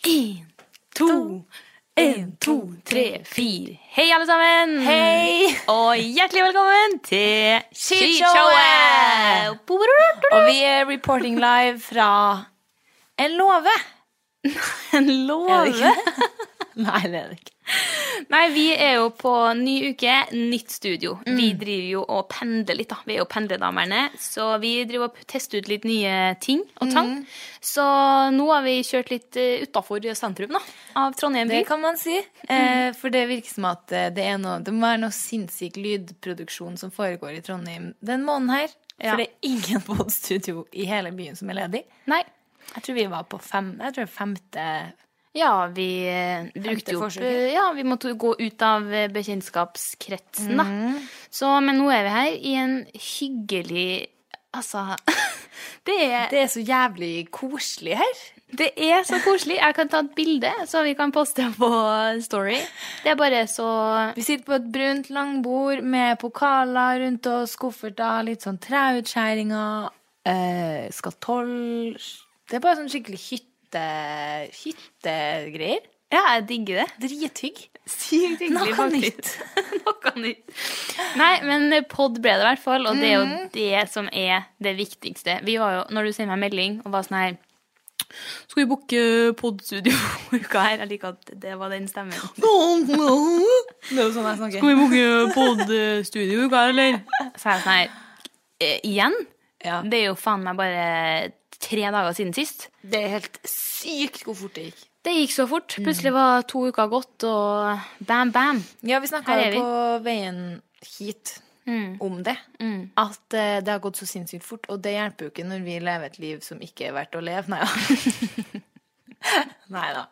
En, to, en, to, tre, fire. Hei, alle sammen! Hei! Og hjertelig velkommen til Skishowet! Skishowet! Og Og vi er reporting live fra en låve. en låve. Er det ikke Nei, det er det ikke. Nei, vi er jo på ny uke, nytt studio. Mm. Vi driver jo og pendler litt, da. Vi er jo pendledamerne, så vi driver og tester ut litt nye ting Mm. og tang. Så nå har vi kjørt litt uh, utafor sentrum, da, av Trondheim by. Det kan man si. Eh, for det virker som at eh, det, er noe, det må være noe sinnssyk lydproduksjon som foregår i Trondheim den måneden her. Ja. For det er ingen podstudio i hele byen som er ledig. Nei. Jeg tror vi var på fem, jeg tror femte Ja, vi eh, brukte jo opp forsøket. eh, Ja, vi måtte jo gå ut av eh, bekjentskapskretsen, da. Mm. Så, men nå er vi her i en hyggelig Altså det er, Det er så jævlig koselig her. det er så koselig. Jeg kan ta et bilde, så vi kan poste på Story. Det er bare så Vi sitter på et brunt langbord med pokaler rundt oss, kofferter, litt sånn treutskjæringer, eh, skatoll Det er bare sånn skikkelig hytte, hyttegreier. Ja, jeg digger det. Drithygg. Sykt hyggelig, Noe faktisk. Noe nytt. Nei, men pod ble det i hvert fall, og det er jo det som er det viktigste. Vi var jo, når du sender meg melding og var sånn her Skal vi booke podstudio for uka her? Jeg liker at det var den stemmen. Det er jo sånn jeg snakker. vi booke podstudio uka her, eller? Så er jeg sånn her «Eh, Igjen? Ja. Det er jo faen meg bare tre dager siden sist. Det er helt sykt hvor fort det gikk. Det gikk så fort. Plutselig var to uker gått, og bam, bam. Ja, vi snakka Her er vi. Mm. på veien hit om det. At eh, det har gått så sinnssykt fort. Og det hjelper jo ikke når vi lever et liv som ikke er verdt å leve. Nei da. Nei da.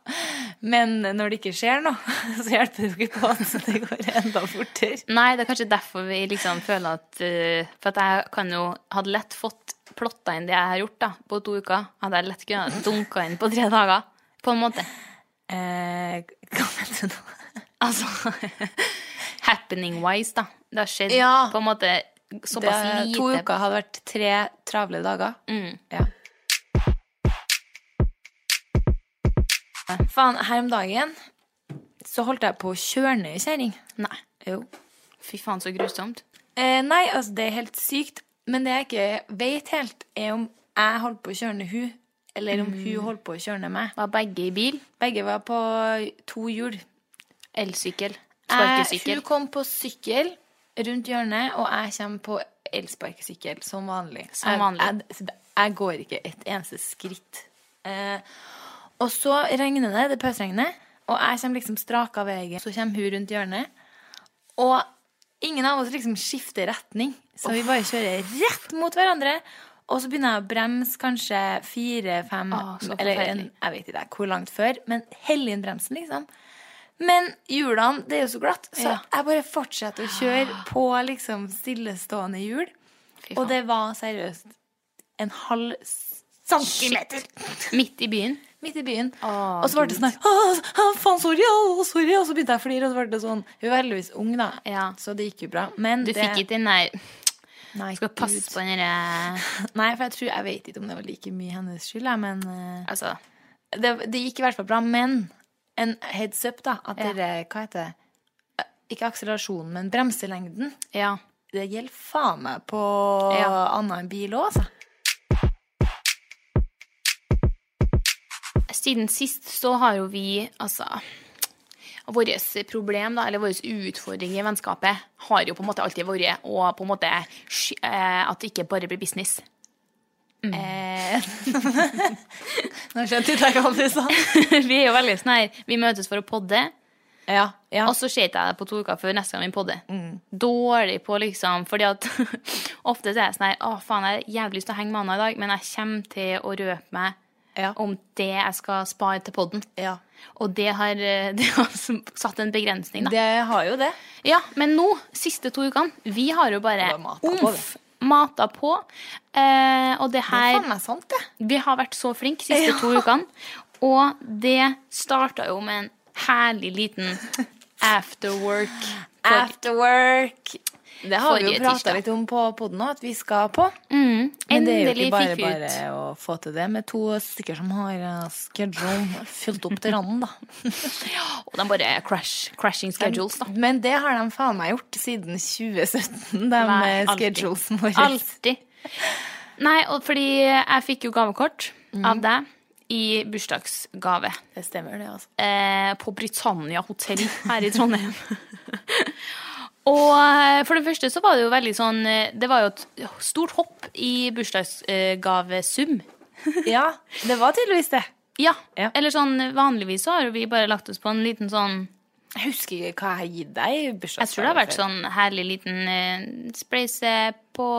Men når det ikke skjer noe, så hjelper det jo ikke på at det går enda fortere. Nei, det er kanskje derfor vi liksom føler at eh, For at jeg kan jo hadde lett fått plotta inn det jeg har gjort da, på to uker. Hadde jeg lett kunnet dunka inn på tre dager. På en måte. Eh, hva mener du nå? Altså happening-wise, da. Det har skjedd Ja. på en måte såpass Det- lite. Mm. To uker hadde vært tre travle dager. Ja. Faen, her om dagen så holdt jeg på å kjøre ned ei kjerring. Nei. Jo. Fy faen, så grusomt. Eh, nei, altså, det er helt sykt. Men det jeg ikke vet helt, er om jeg holdt på å kjøre ned hun, eller om Mm. hun holdt på å kjøre ned meg. Var begge i bil. Begge var på to hjul. Elsykkel. Jeg, Sparkesykkel. hun kom på sykkel rundt hjørnet, og jeg kommer på elsparkesykkel som vanlig. Som Jeg- vanlig. Jeg, jeg går ikke et eneste skritt. Eh, og så regner det, det pøsregner, og jeg kommer liksom straka veien. Så kommer hun rundt hjørnet, og ingen av oss liksom skifter retning. Så vi bare kjører rett mot hverandre. Og så begynner jeg å bremse kanskje fire-fem Ah, så Eller en, forferdelig. jeg vet ikke hvor langt før, men hell inn bremsen, liksom. Men hjulene, det er jo så glatt, så Ja. Ah. jeg bare fortsetter å kjøre på liksom stillestående hjul. Fy faen. Og det var seriøst en halv s- centimeter Midt i byen. midt i byen. og så ble det sånn her «Åh, åh, Faen, sorry, åh, sorry. Og så begynte jeg å flire, og så ble det sånn Hun var heldigvis ung, da, Ja. så det gikk jo bra. Men Du det, fikk ikke den der nei, Skal passe Gud. på den derre Nei, for jeg tror Jeg vet ikke om det var like mye hennes skyld, jeg, men eh, Altså, det, det gikk i hvert fall bra. Men en heads up, da, at Ja. dere Hva heter det? Eh, Ikke akselerasjonen, men bremselengden. ja. Det gjelder faen meg på Ja. annet enn bil òg, altså. Siden sist så har jo vi, altså Vårt problem, da, eller vår utfordring i vennskapet, har jo på en måte alltid vært å på en måte sky- eh, At det ikke bare blir business. Eh, Nå skjønte jeg ikke hva du sa. vi er jo veldig sånn her Vi møtes for å podde, Ja, ja. Mm. og så ser ikke jeg deg på to uker før neste gang vi podder. Dårlig på, liksom, fordi at ofte så er jeg sånn her Å, faen, jeg har jævlig lyst til å henge med Anna i dag, men jeg kommer til å røpe meg Ja. om det jeg skal spare til podden. ja. Og det har, eh, det har satt en begrensning, da. Det har jo det. Ja, men nå, siste to ukene, vi har jo bare Det var mata på, omf mata på. Eh, og Det det er her faen meg sant, det. Vi har vært så flinke siste to ukene. Og det starta jo med en herlig liten afterwork. Afterwork. Det har vi Forrige jo prata tirsdag. Mm. litt om på poden òg, at vi skal på. Men det er jo Endelig ikke bare fikk vi bare ut. å få til det med to stykker som har eh, schedule fylt opp til randen, da. Og de bare crash, crashing schedules, da. Men det har de faen meg gjort siden 2017, de eh, alltid. schedulesen våre. Alltid. Nei, og fordi jeg fikk jo gavekort Mhm. av deg i bursdagsgave. Det stemmer, det, altså. eh, på Britannia hotell her i Trondheim. Og eh, for det første så var det jo veldig sånn eh, Det var jo et stort hopp i bursdagsgavesum. Ja, det var tydeligvis det. Ja. Ja. Eller sånn vanligvis så har jo vi bare lagt oss på en liten sånn Jeg husker ikke hva jeg har gitt deg i bursdagsgave. Jeg tror det har vært før. sånn herlig liten eh, spleise på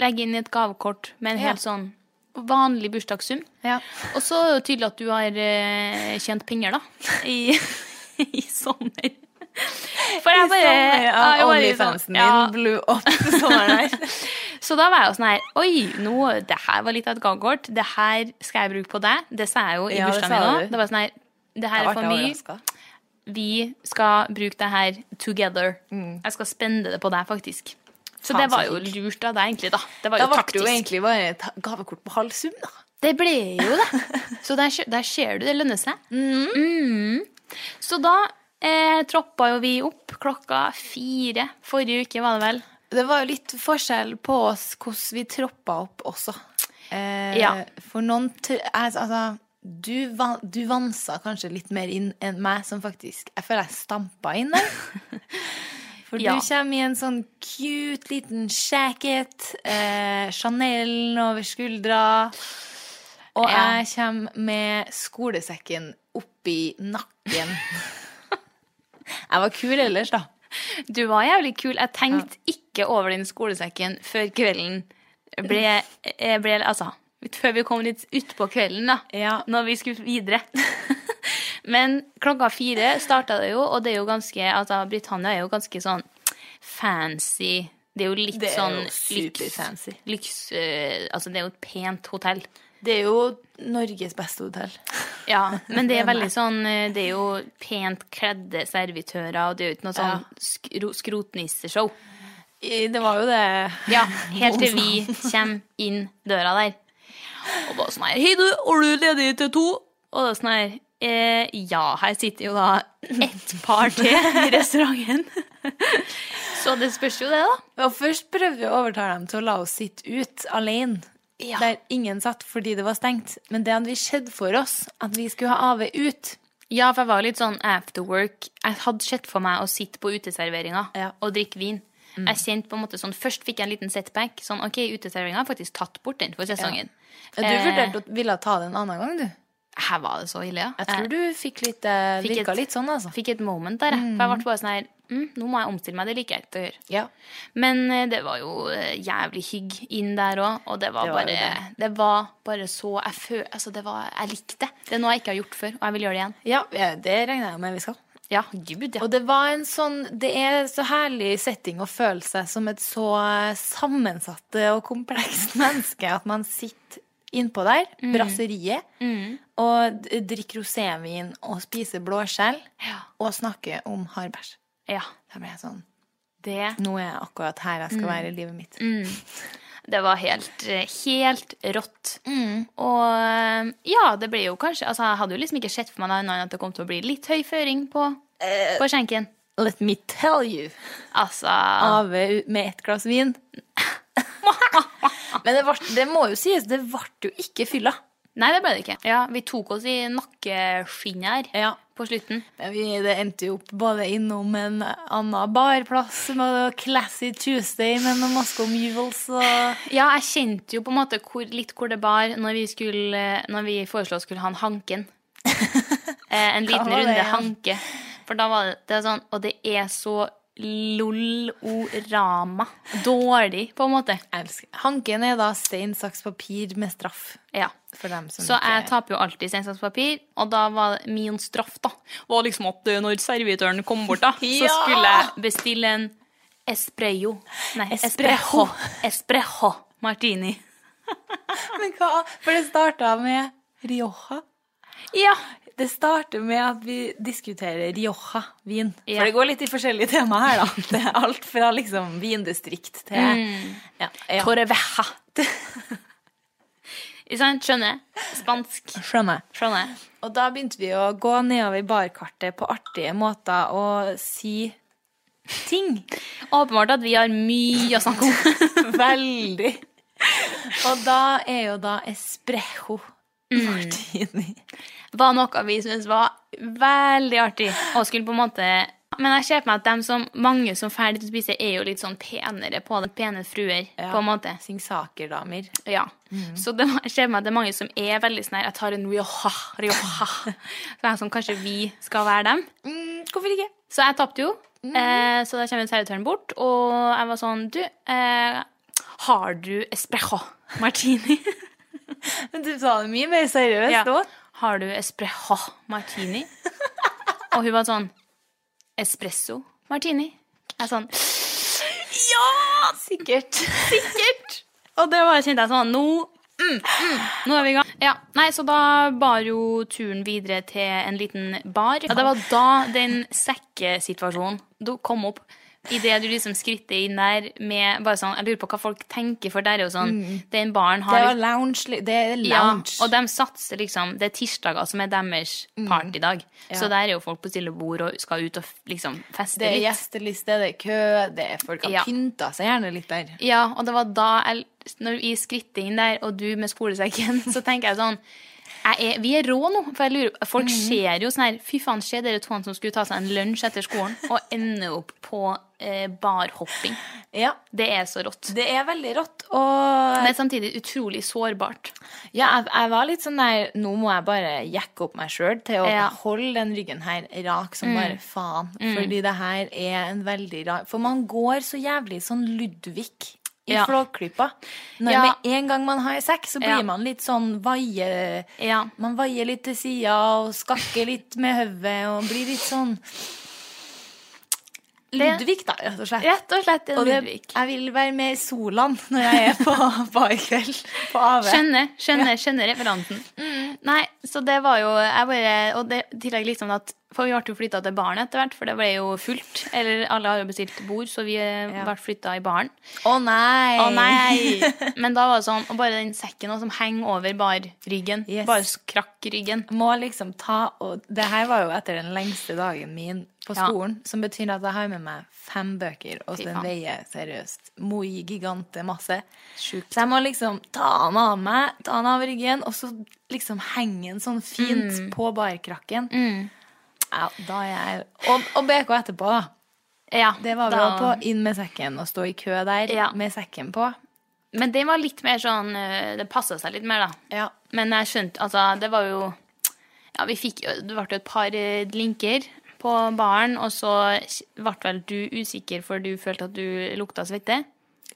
Legge inn i et gavekort med en Ja. helt sånn vanlig bursdagssum. Ja. Og så er det jo tydelig at du har eh, tjent penger, da. I, i sommer. For jeg bare Sånn, ja, jeg bare Onlyfansen sånn, ja. min blew up sommeren her. Så da var jeg jo sånn her Oi, nå, det her var litt av et gavekort. Det her skal jeg bruke på deg. Det sa jeg jo i Ja, det bursdagen sa min du. òg. Det var sånn her Det her Jeg er for ble mye. overrasket. Vi skal bruke det her together. Jeg skal spende det på deg, faktisk. Så Mm. Faen, det var så jo fint. lurt av deg, egentlig. da Det var Da jo ble det taktisk. jo egentlig bare et gavekort på halv sum, da. Det ble jo det. Så der, skj- der ser du det lønner seg. Mm. Så da eh, troppa jo vi opp klokka fire forrige uke, var det vel. Det var jo litt forskjell på oss hvordan vi troppa opp også. Eh, Ja. For noen tr- altså, altså, du, van, du vansa kanskje litt mer inn enn meg, som faktisk Jeg føler jeg stampa inn der. For Ja. du kommer i en sånn cute liten jacket, eh, Chanelen over skuldra. Og Ja. jeg kommer med skolesekken oppi nakken. jeg var kul ellers, da. Du var jævlig kul. Jeg tenkte ikke over den skolesekken før kvelden ble, eh, ble Altså, før vi kom litt utpå kvelden, da. Ja. Når vi skulle videre. Men klokka fire starta det jo, og det er jo ganske Altså, Britannia er jo ganske sånn fancy. Det er jo litt Det er sånn jo superfancy. lyks, lyks eh, Altså, det er jo et pent hotell. Det er jo Norges beste hotell. Ja, men det er veldig sånn eh, Det er jo pent kledde servitører, og det er jo ikke noe sånn Ja. skro, skrotnisseshow. I- Det var jo det. Ja, helt til vi kommer inn døra der. Og bare sånn her Hei, du, er du ledig til to? Og da sånn her eh, Ja, her sitter jo da ett par til i restauranten. Så det spørs jo det, da. Og først prøvde vi å overtale dem til å la oss sitte ut alene. Ja. Der ingen satt fordi det var stengt. Men det hadde vi sett for oss, at vi skulle ha AV ut. Ja, for jeg var litt sånn afterwork. Jeg hadde sett for meg å sitte på uteserveringa Ja. og drikke vin. Jeg kjente på en måte sånn, Først fikk jeg en liten setback. Sånn, ok, uteserveringa har faktisk tatt bort den for sesongen. Du Eh. vurderte å ville ta det en annen gang, du. Her var det så ille, ja. Jeg tror du fikk litt, eh, Fikk virka et- litt sånn, altså. fikk et moment der. jeg. For jeg ble bare sånn her mm, Nå må jeg omstille meg. Det liker jeg ikke å gjøre. Ja. Men eh, det var jo eh, jævlig hygg inn der òg, og det var, Det var jo bare det. var bare så Jeg føl... Altså, det var Jeg likte det. Det er noe jeg ikke har gjort før, og jeg vil gjøre det igjen. ja, ja, det regner jeg med vi skal. Ja, gud, ja. Og det var en sånn Det er så herlig setting å føle seg som et så sammensatt og komplekst menneske at man sitter innpå der, Mm. brasseriet, og d- drikker rosévin og spiser blåskjell Ja. og snakker om hardbæsj. ja. Da ble jeg sånn Det, Nå er jeg akkurat her jeg Mm. skal være i livet mitt. det var helt, eh, helt rått. Mm. Og eh, ja, det ble jo kanskje Altså, jeg hadde jo liksom ikke sett for meg noe annet enn at det kom til å bli litt høy føring på, Eh. på skjenken. Let me tell you. Altså Ave u- med ett glass vin. Ah. Men det, var, det må jo sies, det ble jo ikke fylla. Nei, det ble det ikke. Ja, Vi tok oss i nakkeskinnet her Ja. på slutten. Men vi, det endte jo opp både innom en annen barplass med Classy Tuesday med noen Moscow Mules og Ja, jeg kjente jo på en måte hvor, litt hvor det bar når vi, skulle, når vi foreslo å skulle ha en Hanken. Eh, en liten var det, runde ja? Hanke. For da var det, det er sånn Og det er så lol-orama. Dårlig, på en måte. Elsker. Hanken er da stein, saks, papir med straff. Ja. For dem som Så ikke- jeg taper jo alltid stein, saks, papir, og da var min straff da Var liksom at eh, når servitøren kom bort, da, så Ja! skulle jeg bestille en espresso. Nei, Espresso. espresso. Espresso martini. Men hva? For det starta med Rioja. Ja. Det starter med at vi diskuterer Rioja-vin. Ja. For det går litt i forskjellige temaer her, da. Det er alt fra liksom vindistrikt til Mm. ja, ja. Torreveja. Ikke sant? Skjønner? Spansk. Skjønner. Skjønner. Og da begynte vi å gå nedover barkartet på artige måter og si ting. Åpenbart at vi har mye å snakke om. Veldig. Og da er jo da espresso Mm. martini. var noe vi syntes var veldig artig. Og skulle på en måte Men jeg ser på meg at dem som, mange som ferdig til å spise, er jo litt sånn penere på det. Pene fruer, på en måte. Singsakerdamer. Ja. Så det var- jeg ser på meg at det er mange som er veldig sånn her Jeg tar en Rioja, Rioja. Så jeg som sånn, kanskje vi skal være dem. hvorfor ikke? Så jeg tapte jo. Eh, så da kommer servitøren bort, og jeg var sånn Du, eh, har du espresso martini? Men du sa det mye mer seriøst Ja. da. Har du espresso martini? Og hun var sånn Espresso martini? Jeg sånn Ja! Sikkert. Sikkert! Og det var kjente jeg sånn Nå mm, mm, nå er vi i gang. Ja, nei, Så da bar jo turen videre til en liten bar. Ja, det var da den sekkesituasjonen du kom opp. Idet du liksom skritter inn der med bare sånn Jeg lurer på hva folk tenker, for der er jo sånn Den baren Det har var lounge. li- Det er ja, lounge. og de satser liksom Det er tirsdager som er deres partydag. Så der er jo folk på stille bord og skal ut og f- liksom feste det er litt. gjesteliste, det er kø, det er folk har Ja. pynta seg gjerne litt der. Ja, og det var da jeg, når vi skrittet inn der, og du med skolesekken, så tenker jeg sånn jeg er, Vi er rå nå, for jeg lurer Folk ser jo sånn her Fy faen, se dere to som skulle ta seg en lunsj etter skolen, og ender opp på eh, barhopping. Ja, Det er så rått. det er veldig rått. Og Men samtidig utrolig sårbart. Ja, jeg, jeg var litt sånn der Nå må jeg bare jekke opp meg sjøl til å Ja. Mm. holde den ryggen her rak som bare faen. Fordi det her er en veldig rar For man går så jævlig sånn Ludvig i Ja. Flåklypa. Når Ja. med en gang man har sex, så blir Ja. man litt sånn vaie Ja. Man vaier litt til sida og skakker litt med hodet og blir litt sånn Ludvig, da, rett og slett. Rett og slett en Og det, Ludvig. jeg vil være mer Solan når jeg er på barkveld på AV. Mm. Skjønner, skjønner, skjønner referanten. Nei, så det var jo jeg bare, Og det i tillegg liksom at For vi ble jo flytta til baren etter hvert, for det ble jo fullt. Eller alle har jo bestilt bord, så vi eh, ble flytta i baren. Å nei! Å nei! Men da var det sånn Og bare den sekken også, som henger over barryggen. Yes. Bare skrakk ryggen. må liksom ta og Det her var jo etter den lengste dagen min på Ja. skolen, som betyr at jeg har med meg fem bøker, og Fy den faen. veier seriøst moi gigante masse. Sjukt. Så jeg må liksom ta den av meg, ta den av ryggen, og så liksom henge den sånn fint Mm. på barkrakken. Ja, da er jeg Og, og BK etterpå, da. Ja, Det var bra da- på. Inn med sekken og stå i kø der Ja. med sekken på. Men den var litt mer sånn eh, Det passa seg litt mer, da. Ja. Men jeg skjønte, altså, det var jo Ja, vi fikk jo- Det ble jo et par eh, linker på baren, og så ble vel du usikker, for du følte at du lukta svette.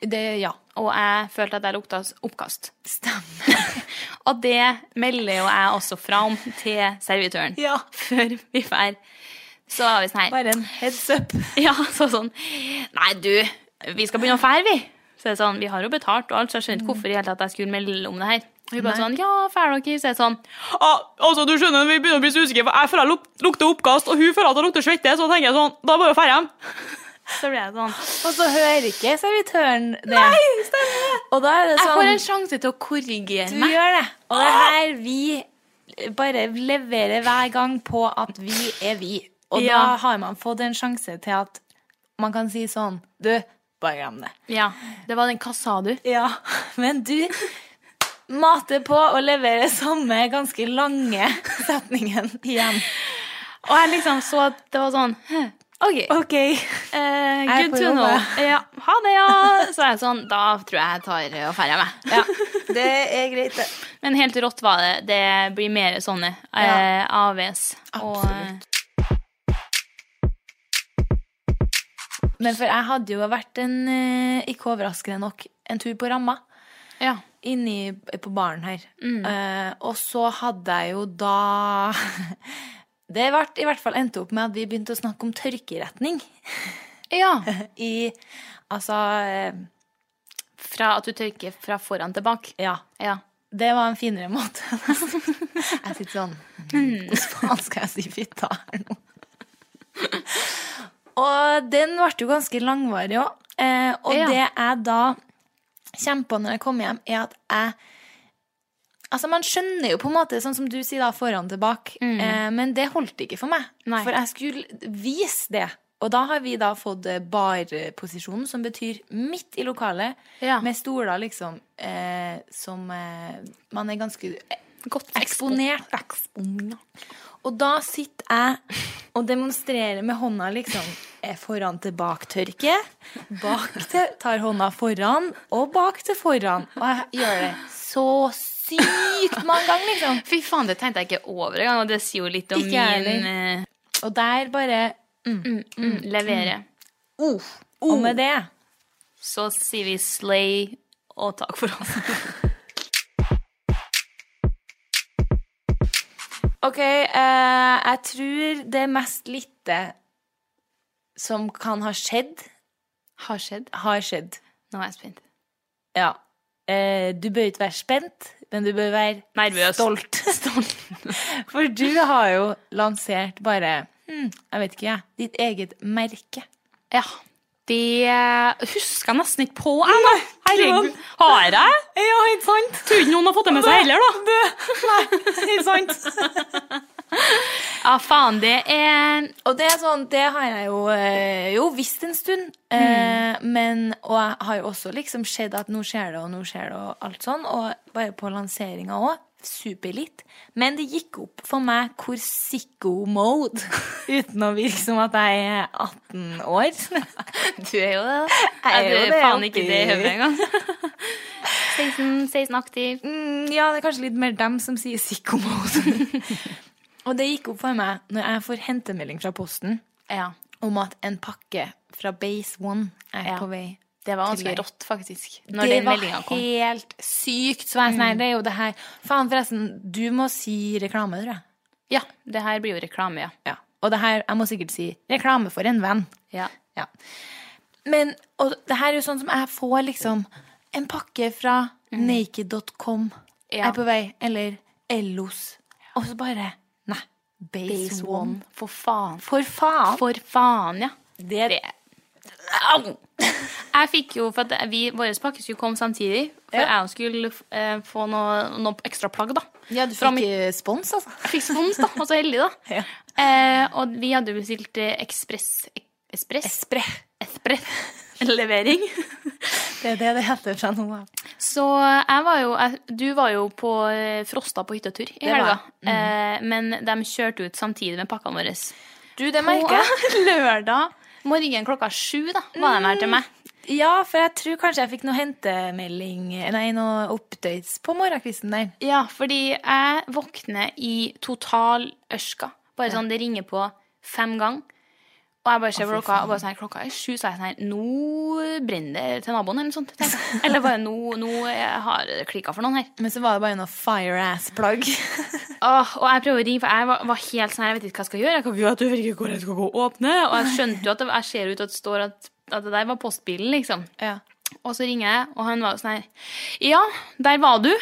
Det, ja. Og jeg følte at jeg lukta s- oppkast. Stemmer. Og det melder jo jeg også fra om til servitøren Ja. før vi drar. Så var vi sånn her Bare en heads up. Ja, så sånn Nei, du, vi skal begynne å fære, vi. Så er det sånn, Vi har jo betalt og alt, så jeg skjønner ikke hvorfor i hele tatt jeg skulle melde om det her. Og Hun bare sånn, ja, fær dere, så er det sånn Ah, altså, du skjønner, Vi begynner å bli så usikre, for jeg føler jeg luk- lukter oppkast, og hun føler at hun lukter svette. Så tenker jeg sånn, da er det bare å dra hjem. Så ble jeg sånn Og så hører ikke servitøren det. Nei, stemmer Og da er det Jeg sånn får en sjanse til å korrigere Du meg. gjør det. Og det er her vi bare leverer hver gang på at vi er vi. Og da Ja. har man fått en sjanse til at man kan si sånn Du, bare glem det. Ja, Det var den 'hva sa du?' Ja, men du mater på og leverer samme ganske lange setningen igjen. Og jeg liksom så at det var sånn «Hm, OK. OK. Eh, er good på to jobb, know. jeg. Ja, ha det, ja. Så er jeg sånn, da tror jeg jeg tar eh, og ferder meg. Det er greit, det. Men helt rått var det. Det blir mer sånne eh, AVs. Og, eh, Absolutt. Men for jeg hadde jo vært en, eh, ikke overraskende nok, en tur på ramma. ja. inni på baren her. Eh, og så hadde jeg jo da Det ble i hvert fall endte opp med at vi begynte å snakke om tørkeretning ja. i Altså eh, Fra at du tørker fra foran til bak. Ja. Ja. Det var en finere måte. jeg sitter sånn «Hmm, Hvordan faen skal jeg si fitta her nå? Og den ble jo ganske langvarig òg. Eh, og Ja. det jeg da kommer på når jeg kommer hjem, er at jeg Altså, man skjønner jo på en måte, sånn som du sier, da, foran til bak, eh, men det holdt ikke for meg. Mm. Nei. For jeg skulle vise det. Og da har vi da fått eh, barposisjonen, som betyr midt i lokalet. Ja. Med stoler liksom eh, som eh, Man er ganske eh, Godt eksponert. da. Og da sitter jeg og demonstrerer med hånda liksom eh, foran til bak-tørke. Bak til tar hånda foran, og bak til foran. Og jeg gjør det så sykt mange ganger, liksom. Fy faen, det tenkte jeg ikke over engang, og det sier jo litt om Ikke jeg min eh, Og der bare mm, levere. Og med det Så sier vi slay og takk for oss. OK, eh, jeg tror det mest lite som kan ha skjedd, Har skjedd. har skjedd. Nå er jeg spent. Ja. Eh, du bør ikke være spent, men du bør være Nervøs. stolt. For du har jo lansert bare hm, Jeg vet ikke, jeg. Ditt eget merke. Ja. Det husker jeg nesten ikke på. Jeg, da. Herregud. Har jeg? Ja, ikke sant? Tror ikke noen har fått det med seg heller, da. Ikke sant? Ja, faen, det er Og det er sånn, det har jeg jo, eh, jo visst en stund. Mm. Eh, men, og jeg har jo også liksom sett at nå skjer det, og nå skjer det, og alt sånn. Og bare på lanseringa òg. Superlitt. Men det gikk opp for meg hvor sicko-mode, uten å virke som at jeg er 18 år. Du er jo det. Jeg er Jeg jo er det, faen ikke oppi- det i hodet engang. 16, 16 aktiv. Mm, ja, det er kanskje litt mer dem som sier sicko mode. og det gikk opp for meg når jeg får hentemelding fra posten Ja. om at en pakke fra Base One er Ja. på vei. Det var til ganske deg. rått, faktisk. Når det den var meldinga kom. helt sykt. Så jeg er sånn, nei, det er jo det her Faen, forresten, du må si reklame, tror jeg. Ja, det her blir jo reklame, ja. Ja. Og det her, jeg må sikkert si reklame for en venn. ja. Ja. Men og det her er jo sånn som jeg får liksom en pakke fra naked.com Ja. er på vei, eller Ellos, og så bare Nei. Base, Base One. one. For faen. For faen! For faen, ja. det, det- Au! Jeg fikk jo, for at vi, Vår pakke skulle komme samtidig, for Ja. jeg skulle eh, få noe, noe ekstra plagg. da. ja, du Fra fikk mitt- eh, spons, altså. Jeg fikk spons, da. Og så heldig, da. Ja. Eh, og vi hadde jo bestilt eh, ekspress... ek- Espress? Spre. Espress-levering. Det er det det heter fra nå av. Så jeg var jo jeg, Du var jo på eh, Frosta på hyttetur i var Mm. helga. Eh, men de kjørte ut samtidig med pakkene våre. Du, det merker jeg. På lørdag morgen klokka sju da, var de her Mm. til meg. Ja, for jeg tror kanskje jeg fikk noe hentemelding Nei, noe updates på morgenkvisten der. Ja, fordi jeg våkner i total ørska. Bare sånn, det ringer på fem ganger. Og Og jeg bare ser på klokka, og bare sånn her, klokka er sju, så er jeg sånn her Nå brenner det til naboen, eller noe sånt. tenkte jeg. Eller bare nå, nå eh, har det klikka for noen her. Men så var det bare noe fire-ass-plagg. Åh, og jeg prøver å ringe, for jeg var, var helt sånn her, jeg vet ikke hva jeg skal gjøre. Jeg kan vi vet jo ikke hvor jeg skal gå og åpne. Og jeg skjønte jo at det, jeg ser ut at det står at, at det der var postbilen, liksom. Ja. Og så ringer jeg, og han var jo sånn her Ja, der var du.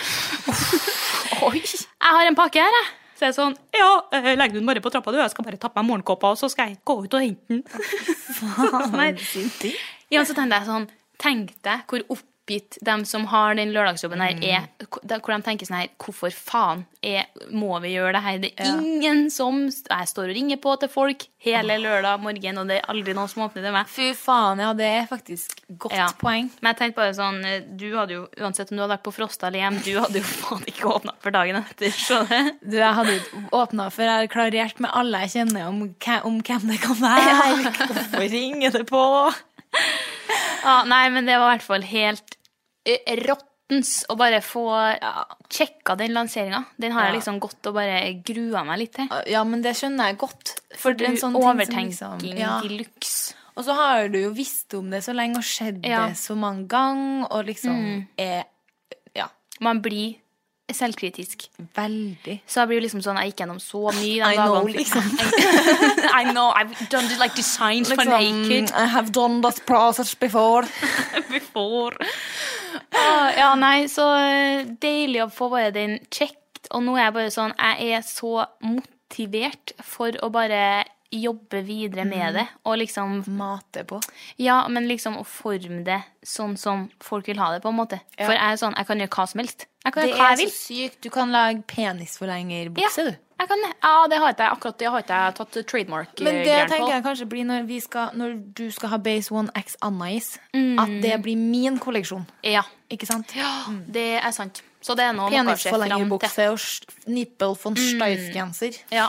Oi. Jeg har en pakke her, jeg. Så jeg er sånn Ja, eh, legg den bare på trappa, du. Jeg skal bare tappe meg morgenkåpa, og så skal jeg gå ut og hente den. Sånn Ja, så tenkte jeg sånn Tenk deg hvor oppgitt dem som har den lørdagsjobben her, er. Hvor de tenker sånn her Hvorfor faen er, må vi gjøre det her? Det er ingen som Jeg står og ringer på til folk hele lørdag morgen, og det er aldri noen som åpner til meg. Fy faen, ja, det er faktisk godt Ja. poeng. Men jeg tenkte bare sånn eh, Du hadde jo, uansett om du hadde vært på Frosta eller hjem, du hadde jo faen ikke åpna for dagen etter. Skjønner du? Du, Jeg hadde jo åpna for jeg har klarert med alle jeg kjenner om, hva- om hvem det kan være. Hvorfor ringer det på? Ja, nei, men det var i hvert fall helt eh, rottens å bare få ja, sjekka den lanseringa. Den har jeg Ja. liksom gått og bare grua meg litt til. Ja, men det skjønner jeg godt. For det er en sånn ting som overtenking liksom- ja. til luxe. Og så har du jo visst om det så lenge og sett Ja. Mm. det så mange ganger, og liksom er ja, Man blir selvkritisk. veldig Så jeg blir jo liksom sånn, jeg gikk gjennom så mye den I know, dagen. I know, I've done it like designs for naked liksom, I have done that process before. before. Ah, ja, nei, så eh, deilig å få bare den checked. Og nå er jeg bare sånn, jeg er så motivert for å bare jobbe videre Mm. med det. Og liksom Mate på. Ja, men liksom å forme det sånn som folk vil ha det, på en måte. For jeg er sånn, jeg kan gjøre hva som helst. Jeg kan Det gjøre hva er jeg så vil. sykt. Du kan lage penisforlengerbukse, Ja. du. Jeg kan, ja, det har ikke jeg akkurat. Det har ikke jeg tatt Men det trademark-greier på. tenker jeg kanskje blir når, vi skal, når du skal ha Base One X Anais, at det blir min kolleksjon. Ja, Ikke sant? det er sant. Så det er noe man kan se fram til. Penisforlengerbukse og sh- nippel von Steif-genser. Ja.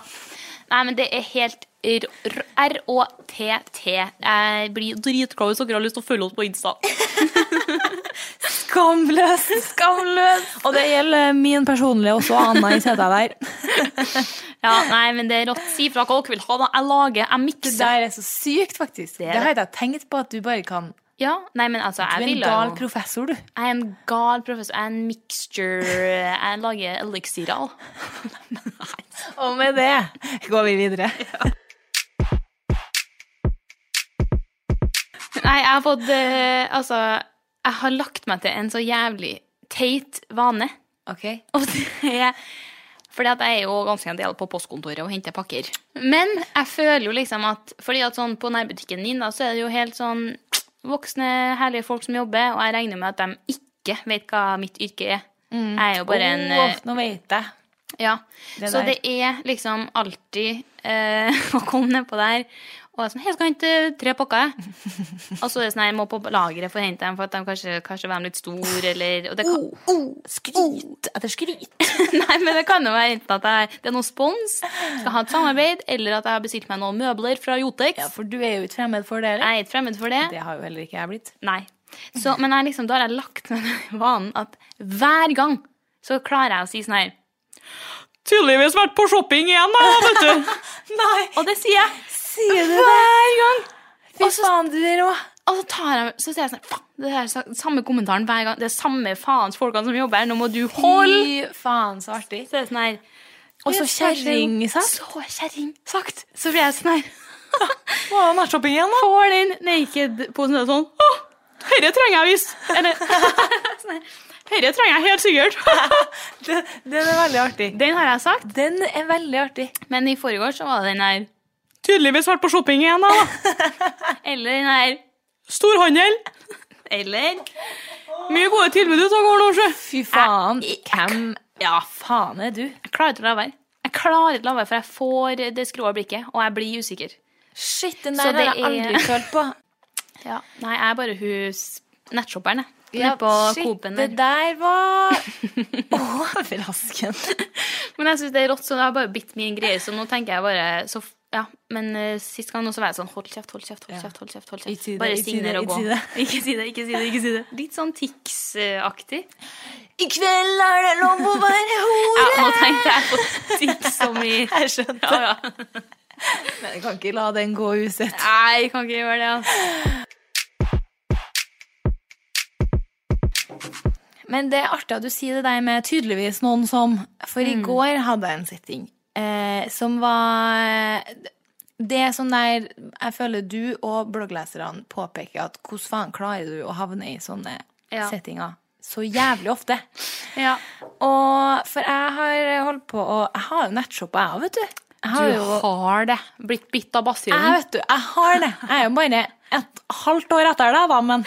Nei, men det er helt r- r- R-Å-T-T. Jeg blir dritglad hvis dere har lyst til å følge oss på Insta. Skamløs! Skamløs! og det gjelder eh, min personlige også. Anais heter jeg der. Ja, nei, men det er rått. Si fra hva dere vil ha, da. Jeg lager, jeg Det mikser. der er så sykt, faktisk. Det, er har jeg ikke tenkt på at du bare kan. Ja, nei, men altså, Du er jeg en vil gal jo professor, du. Jeg er en gal professor. Jeg er en mixture Jeg lager elixirer. Og med det går vi videre. Nei, jeg har fått eh, Altså, jeg har lagt meg til en så jævlig teit vane. Ok. Og det er fordi at jeg er jo ganske en del på postkontoret og henter pakker. Men jeg føler jo liksom at Fordi at sånn på nærbutikken min, da, så er det jo helt sånn voksne, herlige folk som jobber, og jeg regner med at de ikke vet hva mitt yrke er. Jeg er jo bare en eh, Mm. Åh, Oh, nå vet jeg. Ja. Det så der. det er liksom alltid eh, å komme nedpå der og være sånn Hei, jeg skal hente tre pakker, jeg. og så er det sånn «Nei, jeg må på lageret for å hente dem, for at de kanskje, kanskje var de litt store, eller og det kan, Oh, Skryt etter Oh, skryt. Nei, men det kan jo være enten at jeg, det er noe spons, skal ha et samarbeid, eller at jeg har bestilt meg noen møbler fra Jotex. Ja, for du er jo ikke fremmed for det, eller? Jeg er ikke fremmed for det. Det har jo heller ikke jeg blitt. Nei. Så, men jeg liksom, da har jeg lagt meg den vanen at hver gang så klarer jeg å si sånn her Tydeligvis vært på shopping igjen, da, vet du. Nei, Og det sier jeg. sier Hver gang! Fy faen, du er rå. Og så, tar jeg, så sier jeg sånn Faen, det er sa- samme kommentaren hver gang. Det er samme faens folkene som jobber her. Nå må du holde Fy faen, så artig. Så er det sånn her Og så kjerring, sant? Så kjerring sagt. Så blir jeg sånn her Må ha nattshopping igjen, da. Får den naked-posen og sånn Å, Dette trenger jeg visst. eller sånn Dette trenger jeg helt sikkert. Den, er veldig artig. Den har jeg sagt. Den er veldig artig. Men i forgårs så var det den her. Tydeligvis vært på shopping igjen, da. Eller den her. Storhandel. Eller Mye gode tilbud ute og går nå, sjø. Fy faen. Hvem ja, faen er du? Jeg klarer ikke å la være. Jeg klarer ikke å la være, for jeg får det skrå blikket, og jeg blir usikker. Shit, den der Så har det jeg aldri følt på. Ja. Nei, jeg er bare hun nettshopperen, jeg. Ja, Nede på shit, Coop-en det der. der var overraskende. Men jeg synes det er rått, så det har bare bitt min greie. Så nå tenker jeg bare så, f- ja, Men eh, sist gang nå så var jeg sånn Hold kjeft, hold kjeft, hold kjeft. hold kjeft, hold Ikke si kjeft. det, Bare ikke si det, signer og ikke gå. si det. Ikke si det, ikke si det. ikke si det Litt sånn Tix-aktig. I kveld er det lov å være Ja, hore! nå tenkte jeg på Tix som i Jeg skjønte. ja, ja. Men jeg kan ikke la den gå usett. Nei, jeg kan ikke gjøre det, altså. Men det er artig at du sier det der med tydeligvis noen som For Mm. i går hadde jeg en setting eh, som var Det er sånn der jeg føler du og bloggleserne påpeker at hvordan faen klarer du å havne i sånne Ja. settinger så jævlig ofte. Ja. Og for jeg har holdt på å Jeg har jo nettshoppa, jeg òg, vet du. Jeg har jo Du har det. Blitt bitt av jeg basillen. vet du, jeg har det. Jeg er jo bare et halvt år etter deg, da, men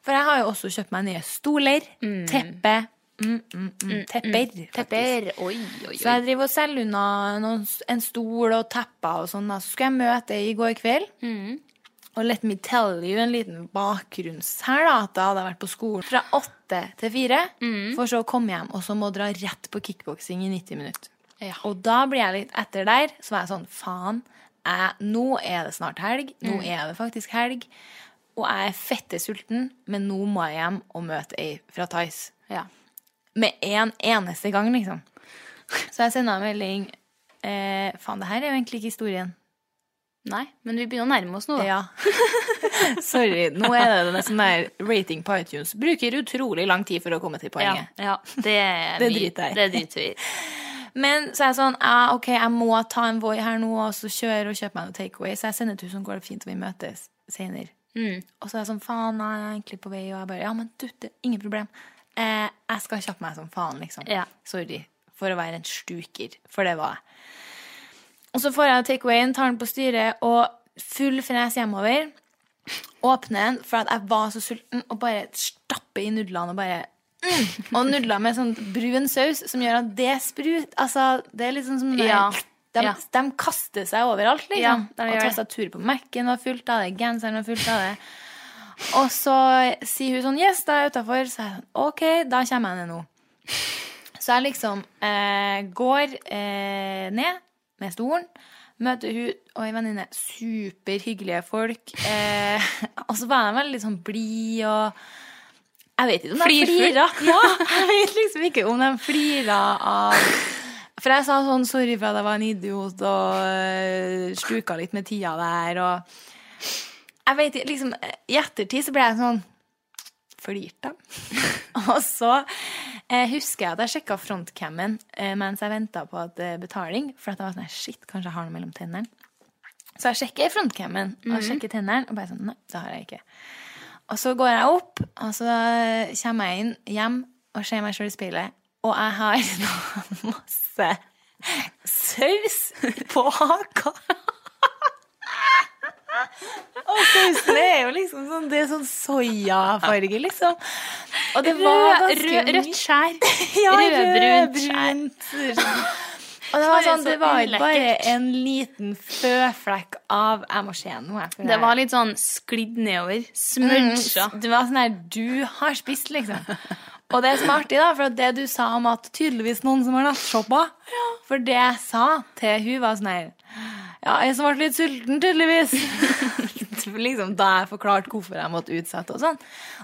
For jeg har jo også kjøpt meg nye stoler, teppe mm, mm, mm, Tepper, faktisk. Tepper. Oi, oi, Så oi. jeg driver og selger unna noen, en stol og tepper og sånn. da. Så skulle jeg møte ei i går kveld. Og let me tell you en liten bakgrunns her, da. At jeg hadde vært på skolen fra åtte til fire. For så å komme hjem, og så må dra rett på kickboksing i 90 minutter. Ja. Og da blir jeg litt etter der, så var jeg sånn, faen, jeg, nå er det snart helg, nå er det faktisk helg, og jeg er fette sulten, men nå må jeg hjem og møte ei fra Thais. Ja. Med en eneste gang, liksom. Så jeg sender en melding, eh, faen, det her er jo egentlig ikke historien. Nei, men vi begynner å nærme oss nå, da. Ja. Sorry, nå er det den sånn der rating på iTunes. Bruker utrolig lang tid for å komme til Ja, poenget. ja. Det, er Det vi- driter jeg i. Det driter vi i. Men så er jeg sånn ja, Ok, jeg må ta en Voi her nå og så kjøre og kjøpe meg noe takeaway. Så jeg sender til henne, går det fint, og vi møtes senere. Og så er jeg sånn Faen, nei, jeg er egentlig på vei, og jeg bare Ja, men du, det er ingen problem. Eh, jeg skal kjappe meg som faen, liksom. Ja. Sorry for å være en stuker, for det var jeg. Og så får jeg takeawayen, tar den på styret og full fres hjemover. Åpner den, for at jeg var så sulten, og bare stapper i nudlene og bare mm, Og nudler med sånn brun saus som gjør at det sprut Altså, det er liksom som Ja. De, Ja. de kaster seg overalt, liksom. Ja, de og gjør det. tastaturet på Mac-en var fullt av det, genseren var fullt av det. Og så sier hun sånn Yes, da er jeg utafor. Så er jeg sånn OK, da kommer jeg ned nå. Så jeg liksom eh, går eh, ned med stolen, møter hun og ei venninne. Superhyggelige folk. Eh, og så var de veldig sånn blide og Jeg vet ikke om de Flirfull. flira. Ja, jeg vet liksom ikke om de flira av For jeg sa sånn sorry for at jeg var en idiot og eh, sluka litt med tida der og Jeg vet ikke, liksom eh, I ettertid så ble jeg sånn flirte. og så eh, husker jeg at jeg sjekka frontcammen eh, mens jeg venta på at, eh, betaling. For at jeg var sånn Shit, kanskje jeg har noe mellom tennene. Så jeg sjekker frontcammen og Mhm. jeg sjekker tennene, og bare sånn Nei, det har jeg ikke. Og så går jeg opp, og så kommer jeg inn hjem og ser meg sjøl i speilet, og jeg har da masse saus på haka. Og sausen er jo liksom sånn Det er sånn soyafarge, liksom. Og det var Rød- ganske rød- rødt skjær. ja, Rødbrunt rødbrunt. Og det var sånn, det var Så jo bare ulekkert. en liten føflekk av Jeg må se noe. jeg, for Det var litt sånn sklidd nedover. Smudja. Mm, Det var sånn her Du har spist, liksom. Og det som er artig, da, for at det du sa om at tydeligvis noen som har nattshoppa For det jeg sa til hun, var sånn her Ja, jeg som ble litt sulten, tydeligvis. liksom, da jeg forklarte hvorfor jeg måtte utsette og sånn.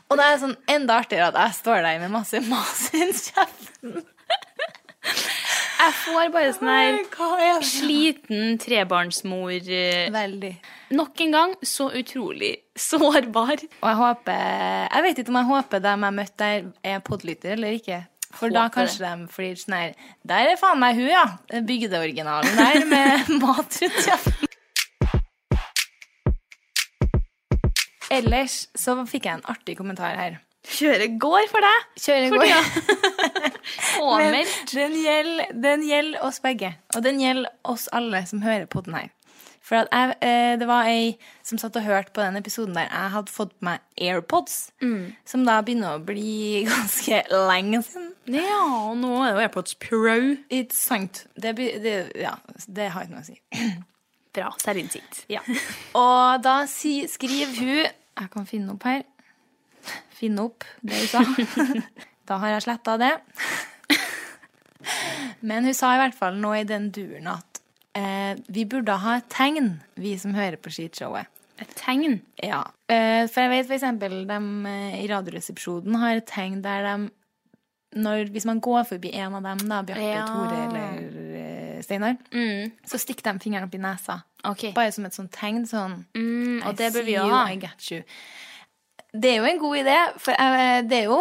Og det er sånn enda artigere at jeg står der med masse mas i kjeften. Jeg får bare sånn her Hva er det? sliten trebarnsmor. eh, Veldig. Nok en gang så utrolig sårbar. Og jeg håper Jeg vet ikke om jeg håper dem jeg møtte der, er podlytter eller ikke. For da Håper kanskje de flirer sånn her Der er faen meg hun, ja! Bygdeoriginalen der med mat rundt kjeften. Ellers så fikk jeg en artig kommentar her. Kjøret går for deg. Kjøre For går. tida. Men Påmeldt. den gjelder, den gjelder oss begge. Og den gjelder oss alle som hører på den her. For at jeg, eh, det var ei som satt og hørte på den episoden der jeg hadde fått på meg AirPods, som da begynner å bli ganske lenge siden. Ja, og nå er jo AirPods Pro. Ikke sant? Det, blir- det, ja, det har ikke noe å si. Bra selvinnsikt. Ja. Og da si, skriver hun Jeg kan finne opp her. Finne opp det hun sa. da har jeg sletta det. Men hun sa i hvert fall nå i den duren at eh, vi burde ha et tegn, vi som hører på skishowet. Et tegn. Ja. Eh, for jeg vet f.eks. de eh, i Radioresepsjonen har et tegn der de når, Hvis man går forbi en av dem, da, Bjarte, Ja. Tore eller eh, Steinar, så stikk de fingrene opp i nesa. Ok. Bare som et sånt tegn. Sånn Mm, og det I bør vi see jo you, ha. I got you. Det er jo en god idé, for eh, det er jo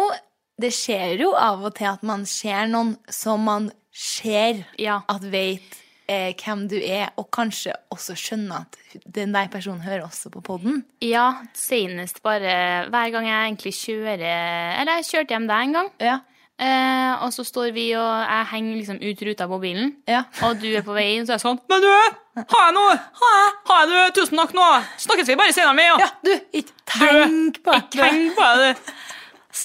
Det skjer jo av og til at man ser noen som man ser Ja. at vet eh, hvem du er, og kanskje også skjønner at den der personen hører også på poden. Ja, senest bare hver gang jeg egentlig kjører Eller jeg kjørte hjem deg en gang. Ja. Eh, og så står vi og jeg henger liksom ut ruta på bilen, Ja. og du er på vei inn, så er jeg sånn Men du, har jeg noe? Har jeg? Har jeg noe? Tusen takk nå. Snakkes vi bare senere med, ja, du, ikke tenk på Jeg tenker på det. du.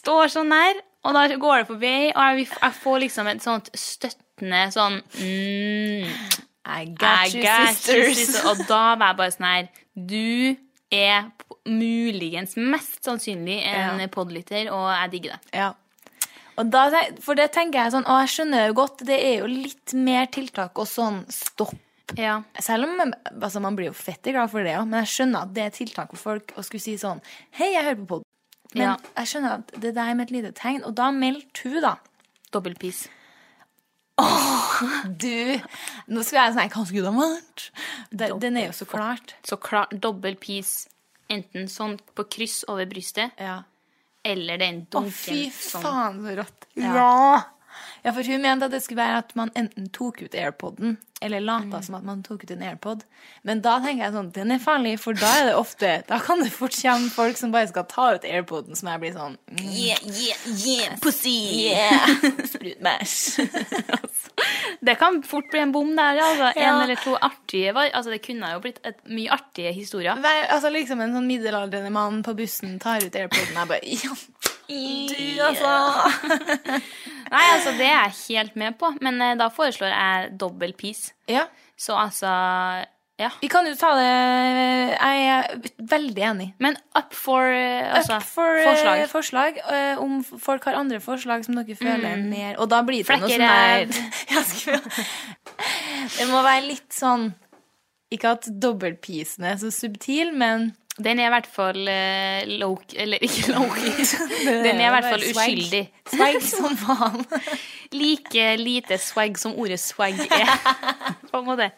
Står sånn der, og da går det forbi, og jeg, jeg får liksom et sånt støttende sånn mm, I I got you, got you, sisters. sister. Og da var jeg bare sånn her Du er p- muligens mest sannsynlig en Ja. podlytter, og jeg digger det. Ja. Og da, te- for det tenker jeg sånn, og jeg skjønner jo godt, det er jo litt mer tiltak og sånn stopp. Ja. Selv om altså, man blir jo fette glad for det, ja, men jeg skjønner at det er tiltak for folk å skulle si sånn Hei, jeg hører på podden. Men Ja. jeg skjønner at det der med et lite tegn, og da meldte hun, da. Dobbel pis. Du, nå skulle jeg sånn Hva skulle det ha vært? Det- Den er jo så klart. Så klart dobbel pis. Enten sånn på kryss over brystet, Ja. eller den Å, dunken fy som- faen, så rått. Ja. ja, for hun mente at det skulle være at man enten tok ut AirPoden, eller lata som at man tok ut en AirPod. Men da tenker jeg sånn, den er farlig, for da er det ofte Da kan det fort komme folk som bare skal ta ut AirPoden, som jeg blir sånn mm, Yeah, yeah, yeah, pussy! Yeah! Sprutmæsj. Det kan fort bli en bom der, altså. En Ja. eller to artige var- Altså, det kunne jo blitt et, mye artige historier. Vær- altså liksom en sånn middelaldrende mann på bussen tar ut AirPoden, jeg bare ja, Du, altså! Nei, altså, det er jeg helt med på, men eh, da foreslår jeg dobbel pis. Ja. Så altså Ja. Vi kan jo ta det Jeg er veldig enig. Men up for eh, altså, Up for eh, forslag. forslag eh, om f- folk har andre forslag som dere føler mer Og da blir det noe sånn Flekkerev. der Ja, skulle- Det må være litt sånn Ikke at dobbeltpisen er så subtil, men Den er i hvert fall eh, low... Eller ikke low Den er i hvert fall Swag. uskyldig. Swag som faen. Like lite swag som ordet swag er. På en måte.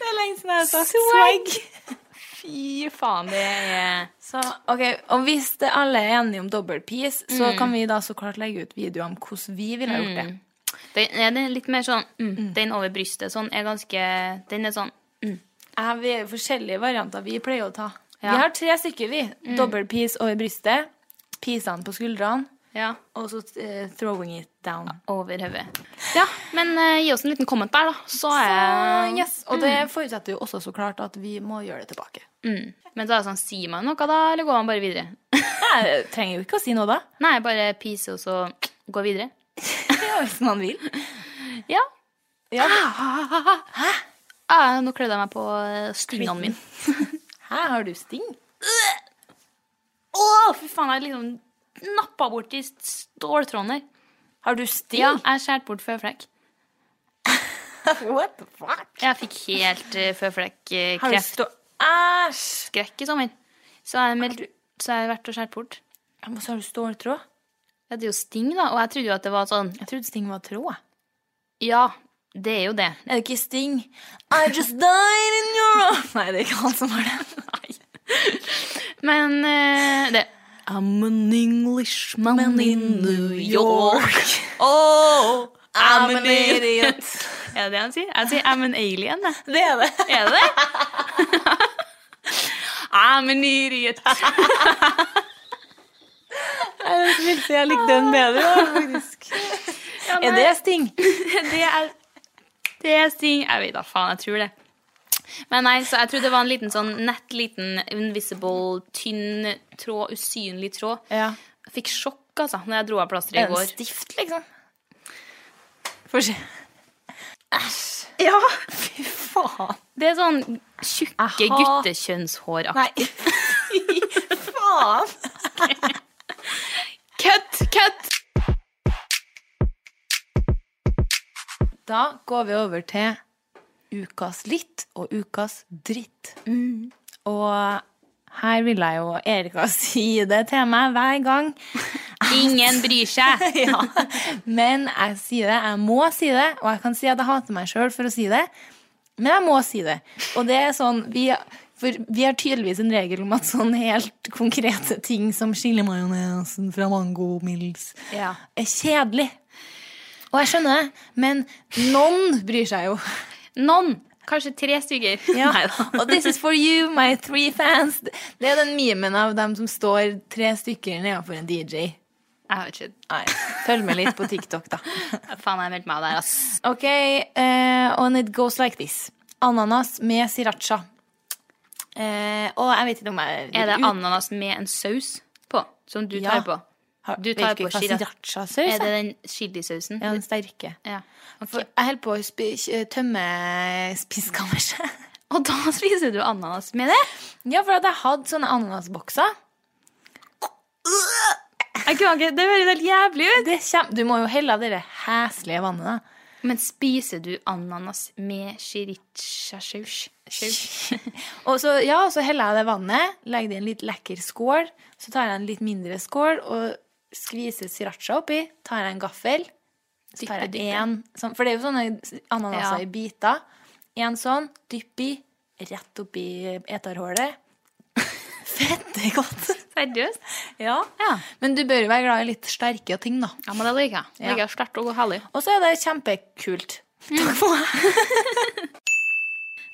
Det er lenge siden jeg har sagt Swag. swag. Fy faen, det er Så, ok, Og hvis det alle er enige om dobbeltpis, så kan vi da så klart legge ut videoer om hvordan vi ville ha gjort det. Den er den litt mer sånn mm, Den over brystet sånn er ganske Den er sånn Ja, vi er jo forskjellige varianter vi pleier å ta. Ja. Vi har tre stykker, vi. Dobbeltpis over brystet, pisene på skuldrene, Ja. og så eh, throwing it down. Over hodet. Ja, men eh, gi oss en liten comment der, da. Så er Så, yes. Og det forutsetter jo også så klart at vi må gjøre det tilbake. mm. Men så er det sånn Sier man noe da, eller går man bare videre? Jeg trenger jo ikke å si noe da, Nei, bare pise og så gå videre. hvis man vil. Ja. Ja. Ah, nå klødde jeg meg på eh, stingene mine. Her har du sting. Å, fy faen, jeg liksom nappa bort i ståltråden der. Har du sting? Ja, jeg skjærte bort føflekk. What the fuck? Jeg fikk helt Har uh, du føflekkkreft stå... Æsj! skrekk i sommer. Så har jeg, meldt- så har jeg vært og skjært bort. Ja, men Så har du ståltråd. Jeg hadde jo sting, da, og jeg trodde jo at det var sånn Jeg trodde sting var tråd. Ja, det er jo det. Er det ikke sting? I just died in your arms. Nei, det er ikke han som har det. Nei. Men eh, det I'm an Englishman in New York. Oh, I'm an idiot. Er det det han sier? Jeg sier I'm an alien, jeg. Det er det. Er det det? I'm an idiot. Jeg likte, jeg likte den bedre, da, faktisk. Ah. Er det sting? Det er Det er sting Jeg vet da faen, jeg tror det. Men nei, så jeg tror det var en liten sånn nett, liten invisible, tynn tråd, usynlig tråd. Ja. Jeg fikk sjokk, altså, når jeg dro av plasteret i En går. stift, liksom. Få se. Æsj. Ja! Fy faen. Det er sånn tjukke Aha. guttekjønnshåraktig. Fy faen. Kutt! Kutt! Da går vi over til ukas litt og ukas dritt. Og her vil jeg jo Erika si det til meg hver gang. Ingen bryr seg. ja. Men jeg sier det, jeg må si det, og jeg kan si at jeg hater meg sjøl for å si det, men jeg må si det. Og det er sånn vi, For vi har tydeligvis en regel om at sånn helt konkrete ting som chilimajonesen fra Mango Mills Ja. er kjedelig. Og jeg skjønner det, men noen bryr seg jo. Noen. Kanskje tre stykker. Og this is for you, my three fans. Det er den memen av dem som står tre stykker nedenfor en DJ. Jeg vet ikke. Nei, følg med litt på TikTok, da. Faen, jeg meldte meg av der, ass. Ok, eh, and it goes like this. Ananas med sriracha. Eh, og jeg vet ikke om jeg Er det ananas med en saus på? Som du Ja. tar på? Har- du vet tar ikke på hva sriracha- srirachasaus Er det er. den chilisausen? Ja, den sterke. Ja. Ok. For jeg holder på å spi- tømme spiskammerset. Og da spiser du ananas med det? Ja, for at jeg hadde sånne ananasbokser. Jeg kan ikke, Det høres helt jævlig ut. Det kjem, du må jo helle av det heslige vannet, da. Men spiser du ananas med srirachasaus? Saus? Og så, ja, og så heller jeg det vannet, legger det i en litt lekker skål. Så tar jeg en litt mindre skål og skviser sriracha oppi. Tar jeg en gaffel. Så tar Dyppe, jeg dyppe. en sånn, For det er jo sånne Ja. ananaser i biter. En sånn, dypp i, rett oppi eterhålet. Fette godt. Seriøst? Ja. Ja. Men du bør jo være glad i litt sterke ting, da. Ja, men det liker jeg. Det liker jeg sterkt og herlig. Og så er det kjempekult. Mm. Takk for meg.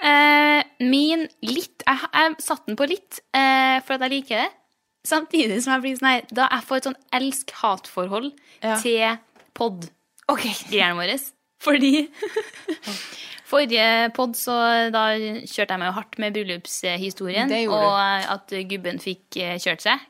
Eh, min litt Jeg, jeg satte den på litt eh, for at jeg liker det. Samtidig som jeg blir sånn her Da jeg får et sånn elsk-hat-forhold Ja. til pod. Greiene våre. Fordi Forrige pod så da kjørte jeg meg jo hardt med bryllupshistorien. Det gjorde Mm. Og eh, at gubben fikk eh, kjørt seg.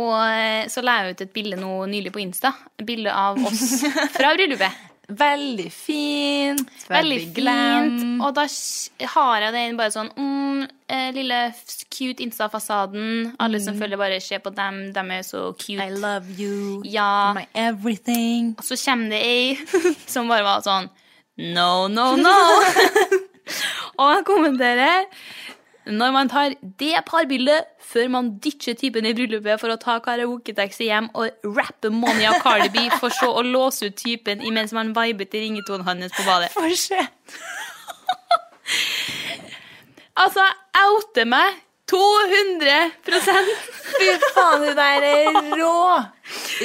Og eh, så la jeg ut et bilde nå nylig på Insta. Et bilde av oss fra bryllupet. Veldig fint. Veldig glam. fint. Og da s- har jeg det inn bare sånn mm, eh, Lille f- cute Insta-fasaden. Alle som følger, bare se på dem. De er så Mm. I cute. love you. Ja. My everything. Og så kommer det ei som bare var sånn No, no, no. og jeg kommenterer Når man tar det parbildet før man ditcher typen i bryllupet for å ta karaoketaxi hjem og rappe Money av Cardi B for så å låse ut typen imens man viber til ringetonen hans på badet. Får se. Altså, jeg outer meg 200 Så jeg Fy faen, hun der er rå!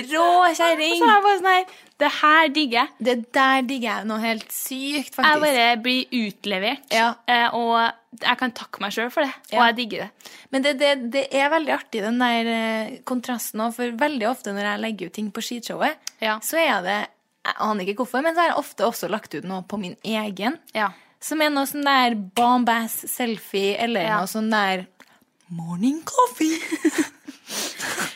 Rå kjerring! bare sånn her Det her digger jeg. Det der digger jeg noe helt sykt, Jeg faktisk. bare blir utlevert, Ja. eh, og jeg kan takke meg sjøl for det. Og Ja. jeg digger det. Men det, det, det er veldig artig, den der eh, kontrasten òg, for veldig ofte når jeg legger ut ting på skishowet, Ja. så er det Jeg aner ikke hvorfor, men så har jeg ofte også lagt ut noe på min egen. Ja. Som er noe sånn der bombass selfie, eller Ja. noe sånn der Morning coffee!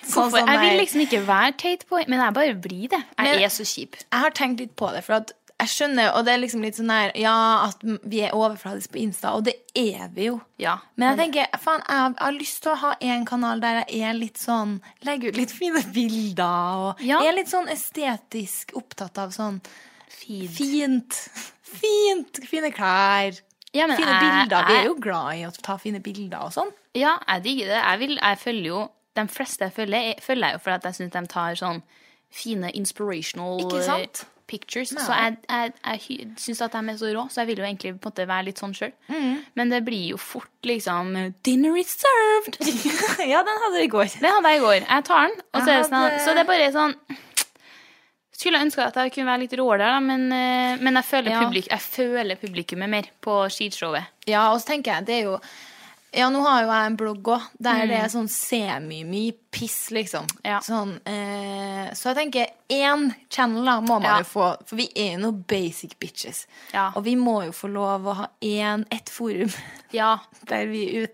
Sånn For som jeg vil der- liksom ikke være teit på men jeg bare blir det. Jeg Men- er så kjip. jeg har tenkt litt på det, for at jeg skjønner, og det er liksom litt sånn der, ja, at vi er overfladisk på Insta, og det er vi jo. Ja. Men jeg tenker, faen, jeg har, jeg har lyst til å ha en kanal der jeg er litt sånn, legger ut litt fine bilder, og Ja. er litt sånn estetisk opptatt av sånn, Fint. fint, fint, fine klær, Ja, men fine jeg- bilder. Vi jeg- er jo glad i å ta fine bilder og sånn. Ja, jeg digger det. Jeg, vil, jeg følger jo De fleste jeg følger, jeg følger jeg jo fordi at jeg syns de tar sånn fine inspirational Ikke sant? eh, pictures. Så jeg, jeg, jeg syns at de er så rå, så jeg vil jo egentlig på en måte være litt sånn sjøl. Mm. Men det blir jo fort liksom Dinner is served! ja, den hadde vi i går. Det hadde jeg i går. Jeg tar den. Og så, er det sånn, hadde- så det er bare sånn skulle jeg ønske at jeg kunne være litt råere, der, da, men, eh, men jeg, føler Ja. publik, jeg føler publikummet mer på skishowet. Ja, og så tenker jeg, det er jo Ja, nå har jo jeg en blogg òg, der det er sånn semi-mye piss, liksom. Mm. Ja. Sånn, eh, så jeg tenker, én channel da må man Ja. jo få, for vi er jo noen basic bitches. Ja. Og vi må jo få lov å ha én, ett forum Ja. der vi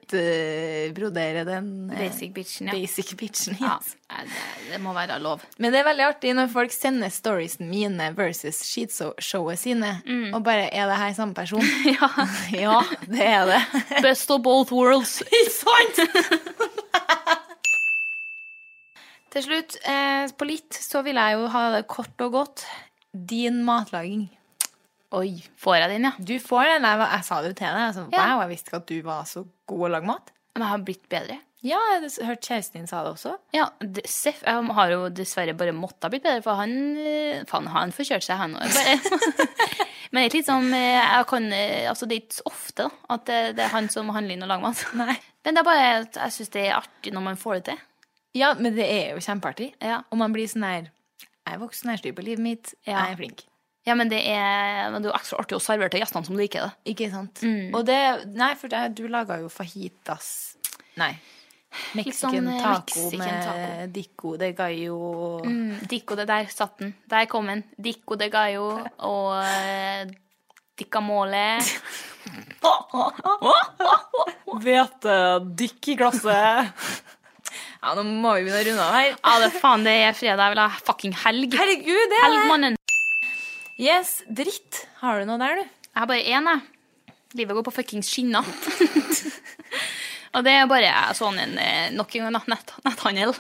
utbroderer den eh, Basic bitchen, ja. basic bitchen, ja. yes. eh, Det, det må være lov. Men det er veldig artig når folk sender storiesene mine versus skitshowet sine, Mm. og bare Er det her samme person? Ja. ja, det er det. Best of both worlds. Til slutt, eh, på litt, så vil jeg jo ha det kort og godt. Din matlaging. Oi, får jeg den, ja? Du får den. Jeg, jeg sa det jo til deg. Jeg, sa, Ja. wow, jeg visste ikke at du var så god å lage mat. Men jeg har blitt bedre. Ja, jeg har hørt kjæresten din sa det også. Ja, det- Seff jeg har jo dessverre bare måttet ha blitt bedre, for han eh, Faen, han forkjørte seg, han òg. Men det er litt sånn eh, jeg kan, eh, altså Det er ikke så ofte da, at det, det er han som handler inn og lager mat. Nei. Men det er bare at jeg syns det er artig når man får det til. Ja, men det er jo kjempeartig. Ja. Og man blir sånn her Jeg er voksen, jeg styrer på livet mitt, Ja. jeg er flink. Ja, men det er, men det er jo ekstra artig å servere til gjestene som liker det. Ikke sant? Og det Nei, for det, du laga jo fajitas Nei. Mexican sånn, eh, taco Mexican med taco. dico de gallo Mm, Dico det der satt den. Der kom den. Dico de gallo og eh, dicamole. Hvetedikk i glasset. Ja, nå må vi begynne å runde av her. Ja, det faen, det er fredag. Jeg vil ha fucking helg. Herregud, det er Helgmannen. Yes, dritt. Har du noe der, du? Jeg har bare én, jeg. Livet går på fuckings skinner. og det er bare eh, sånn en eh, nok en gang da, nett, netthandel.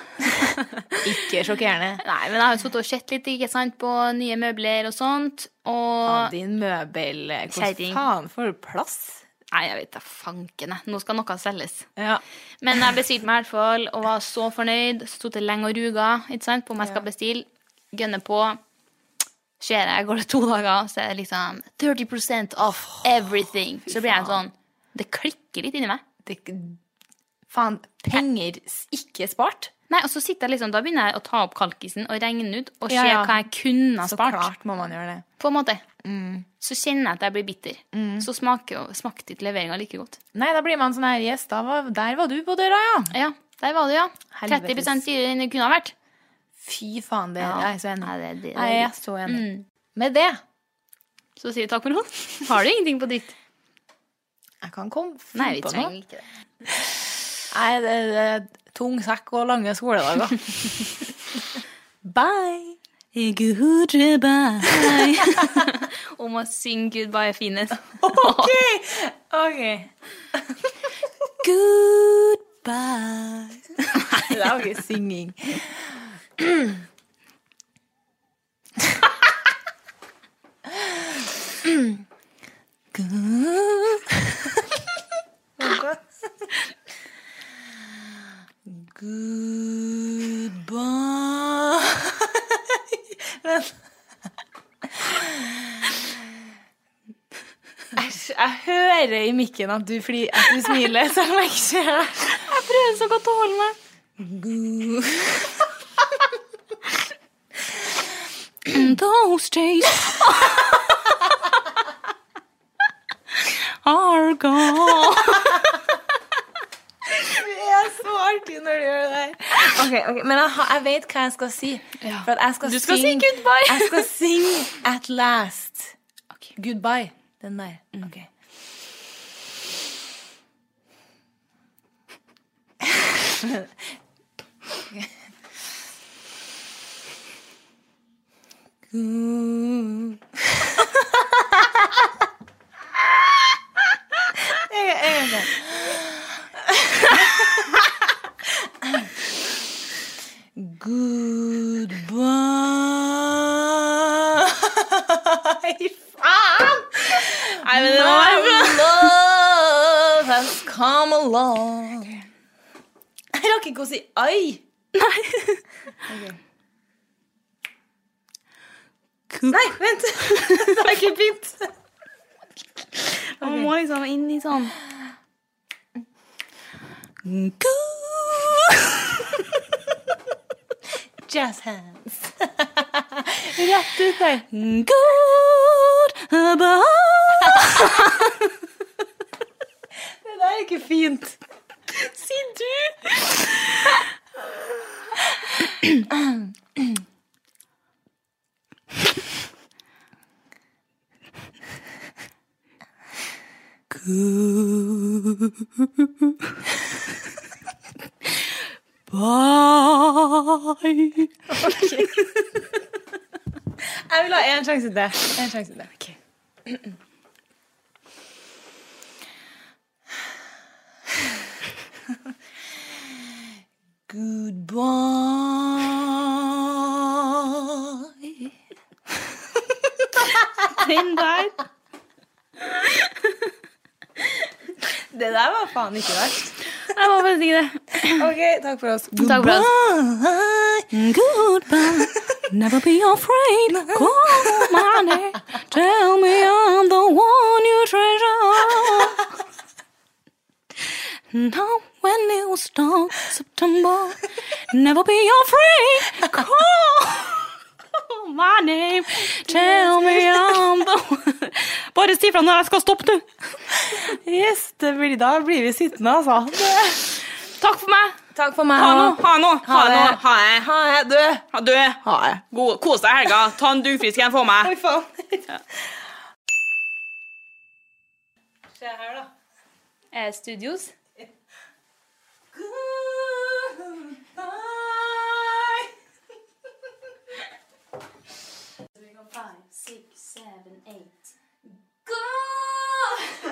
Ikke sjokkerende. Nei, men jeg har jo sittet og sett litt ikke sant, på nye møbler og sånt. Og Din møbel eh, Hvor Kjerring. faen får du plass? Nei, jeg vet da fanken. jeg. Nå skal noe selges. Ja. Men jeg bestilte meg i hvert fall og var så fornøyd. Så tok det lenge og ruga ikke sant, på om jeg skal bestille. Gønner på. Ser jeg, går det to dager, så er det liksom 30 off everything. Så blir jeg sånn Det klikker litt inni meg. Det, faen, penger s- ikke spart? Nei, og så sitter jeg liksom, Da begynner jeg å ta opp kalkisen og regne ut og se Ja, ja. hva jeg kunne ha Så spart. klart Mm. må man gjøre det. På en måte. Så kjenner jeg at jeg blir bitter. Mm. Så smaker jo, smakte ikke leveringa like godt. Nei, da blir man sånn her Yes, da var, der var du på døra, ja. Ja, der var det, ja. Helvetes. 30 dyrere enn det kunne ha vært. Fy faen, det Ja. jeg er så enig. Nei, det- det- det- jeg er så enig. Mm. Med det Så sier vi takk for nå. Har du ingenting på ditt? Jeg kan komme Nei, finne vi på trenger noe. ikke det. Nei, det, det er tung sekk og lange skoledager. Bye! Om å synge 'Goodbye, Finnes'. OK! OK. Goodbye. Det er jo ikke synging. Good. Goodbye. Jeg, jeg hører i mikken at du, fli, at du smiler, selv om jeg ikke ser det. Jeg prøver så godt å holde meg. Those days are gone. Det er så artig når du gjør det der. Ok, ok, Men jeg, har- jeg vet hva jeg skal si. For at jeg skal Du skal si synge- goodbye. Jeg skal synge At Last. Goodbye. Den der. Ok. Good. Jeg- jeg- jeg- Goodbye. Faen! Nei, men My det var love has come along. Jeg rakk ikke å si ai. Nei. Nei, vent. Det har ikke begynt. Man må liksom inn i sånn Jazz hands. Rett ut der. Det der er ikke fint. Si du. Jeg vil ha én sjanse til. En sjanse til. Okay. Goodbye. Den der. Det der var faen ikke verst. Jeg var faktisk ikke det. OK, takk for oss. Takk for oss. Goodbye. Never be afraid. Call my name. Tell me I'm the one you treasure. Now when it was dark September, never be afraid. Call my name. Tell me I'm the one. Bare si fra når jeg skal stoppe, du. Yes, det blir, da blir vi sittende, altså. Det- Takk for meg. Takk for meg. Ha nå, ha nå, ha Ha det. nå, ha det. Ha det, du. Ha du. Ha det. God- Kos deg i helga. Ta en duggfrisk en for meg. Fy faen. Eh, studios. Five, six, seven, eight. Go!